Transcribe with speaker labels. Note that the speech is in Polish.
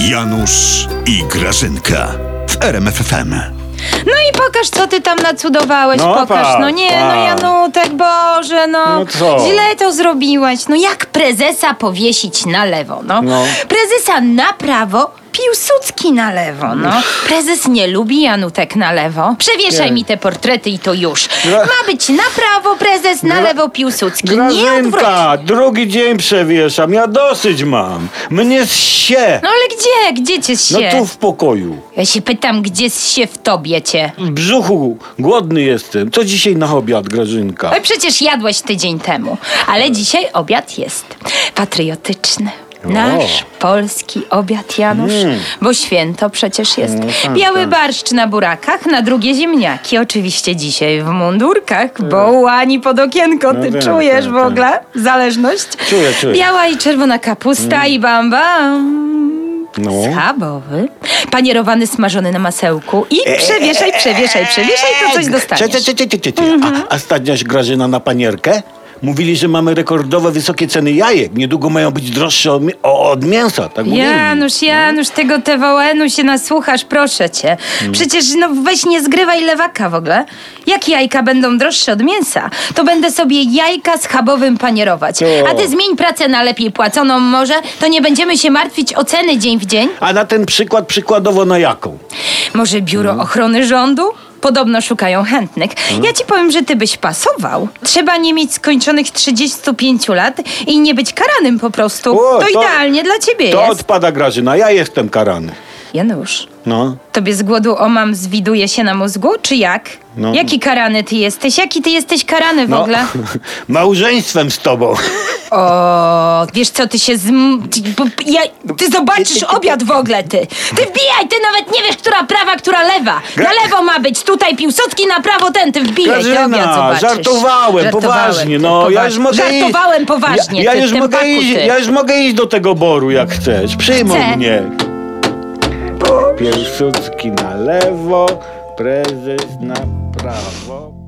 Speaker 1: Janusz i Grażynka w RMFFM.
Speaker 2: No i pokaż, co ty tam nacudowałeś,
Speaker 3: No,
Speaker 2: pokaż.
Speaker 3: pa,
Speaker 2: no nie,
Speaker 3: pa.
Speaker 2: no Janutek, Boże, no.
Speaker 3: No co?
Speaker 2: Źle to zrobiłeś. No jak prezesa powiesić na lewo, no.
Speaker 3: No.
Speaker 2: Prezesa na prawo, Piłsudski na lewo, no. Prezes nie lubi Janutek na lewo. Przewieszaj
Speaker 3: Nie.
Speaker 2: mi te portrety i to już.
Speaker 3: Gra-
Speaker 2: Ma być na prawo prezes, na
Speaker 3: Gra-
Speaker 2: lewo Piłsudski. Nie odwrotnie.
Speaker 3: Grażynka, drugi dzień przewieszam, ja dosyć mam. Mnie zsie.
Speaker 2: No ale gdzie? Gdzie cię
Speaker 3: No
Speaker 2: się?
Speaker 3: tu w pokoju.
Speaker 2: Ja się pytam, gdzie się w tobie cię?
Speaker 3: W brzuchu głodny jestem. Co dzisiaj na obiad, Grażynka?
Speaker 2: Oj, przecież jadłeś tydzień temu, ale
Speaker 3: Tak.
Speaker 2: dzisiaj obiad jest patriotyczny. Nasz polski obiad, Janusz,
Speaker 3: Hmm.
Speaker 2: bo święto przecież jest.
Speaker 3: No, tak,
Speaker 2: Biały barszcz na burakach, na drugie ziemniaki, oczywiście dzisiaj w mundurkach, bo łani pod okienko, ty
Speaker 3: Tak. No tak,
Speaker 2: czujesz
Speaker 3: tak,
Speaker 2: w ogóle zależność?
Speaker 3: Czuję, czuję. Hmm.
Speaker 2: Biała i czerwona kapusta i bam bam.
Speaker 3: No.
Speaker 2: Schabowy, panierowany, smażony na masełku
Speaker 3: E,
Speaker 2: i przewieszaj, przewieszaj, przewieszaj, to coś dostaniesz. Mhm.
Speaker 3: Cze, cze, cze, cze, cze, cze. A, a stadniaś Grażyna na panierkę? Mówili, że mamy rekordowo wysokie ceny jajek. Niedługo mają być droższe od, mi- o, od mięsa, tak mówili.
Speaker 2: Janusz, Janusz, tego TVN-u się nasłuchasz, proszę cię.
Speaker 3: Mm.
Speaker 2: Przecież no weź nie zgrywaj lewaka w ogóle. Jak jajka będą droższe od mięsa, to będę sobie jajka z schabowym panierować.
Speaker 3: O.
Speaker 2: A ty zmień pracę na lepiej płaconą może, to nie będziemy się martwić o ceny dzień w dzień.
Speaker 3: A na ten przykład przykładowo na jaką?
Speaker 2: Może biuro
Speaker 3: Mm.
Speaker 2: ochrony rządu? Podobno szukają chętnych. Ja ci powiem, że ty byś pasował. Trzeba nie mieć skończonych 35 lat i nie być karanym po prostu.
Speaker 3: O,
Speaker 2: to,
Speaker 3: to-
Speaker 2: idealnie dla ciebie
Speaker 3: To
Speaker 2: jest.
Speaker 3: odpada Grażyna, ja jestem karany.
Speaker 2: Janusz.
Speaker 3: No.
Speaker 2: Tobie z głodu o mam zwiduje się na mózgu, czy jak?
Speaker 3: No.
Speaker 2: Jaki karany ty jesteś? Jaki ty jesteś karany w
Speaker 3: no.
Speaker 2: ogóle?
Speaker 3: Małżeństwem z tobą.
Speaker 2: O, wiesz co, ty się zm... Ty, bo- ja, ty zobaczysz obiad w ogóle, ty. Ty wbijaj, ty nawet nie wiesz, która prawa, która lewa. Na
Speaker 3: Gra-
Speaker 2: lewo ma być, tutaj Piłsudski, na prawo ten, ty wbijaj, ty obiad
Speaker 3: Grażyna,
Speaker 2: zobaczysz.
Speaker 3: żartowałem,
Speaker 2: ty,
Speaker 3: poważnie. No, ja już
Speaker 2: poważnie.
Speaker 3: mogę iść.
Speaker 2: Żartowałem poważnie,
Speaker 3: Ja, ja,
Speaker 2: ty,
Speaker 3: już
Speaker 2: tym
Speaker 3: mogę
Speaker 2: baku,
Speaker 3: iść,
Speaker 2: ty.
Speaker 3: ja już mogę iść do tego boru, jak chcesz. Przyjmą
Speaker 2: Chcę.
Speaker 3: mnie. Piłsudski na lewo, prezes na prawo.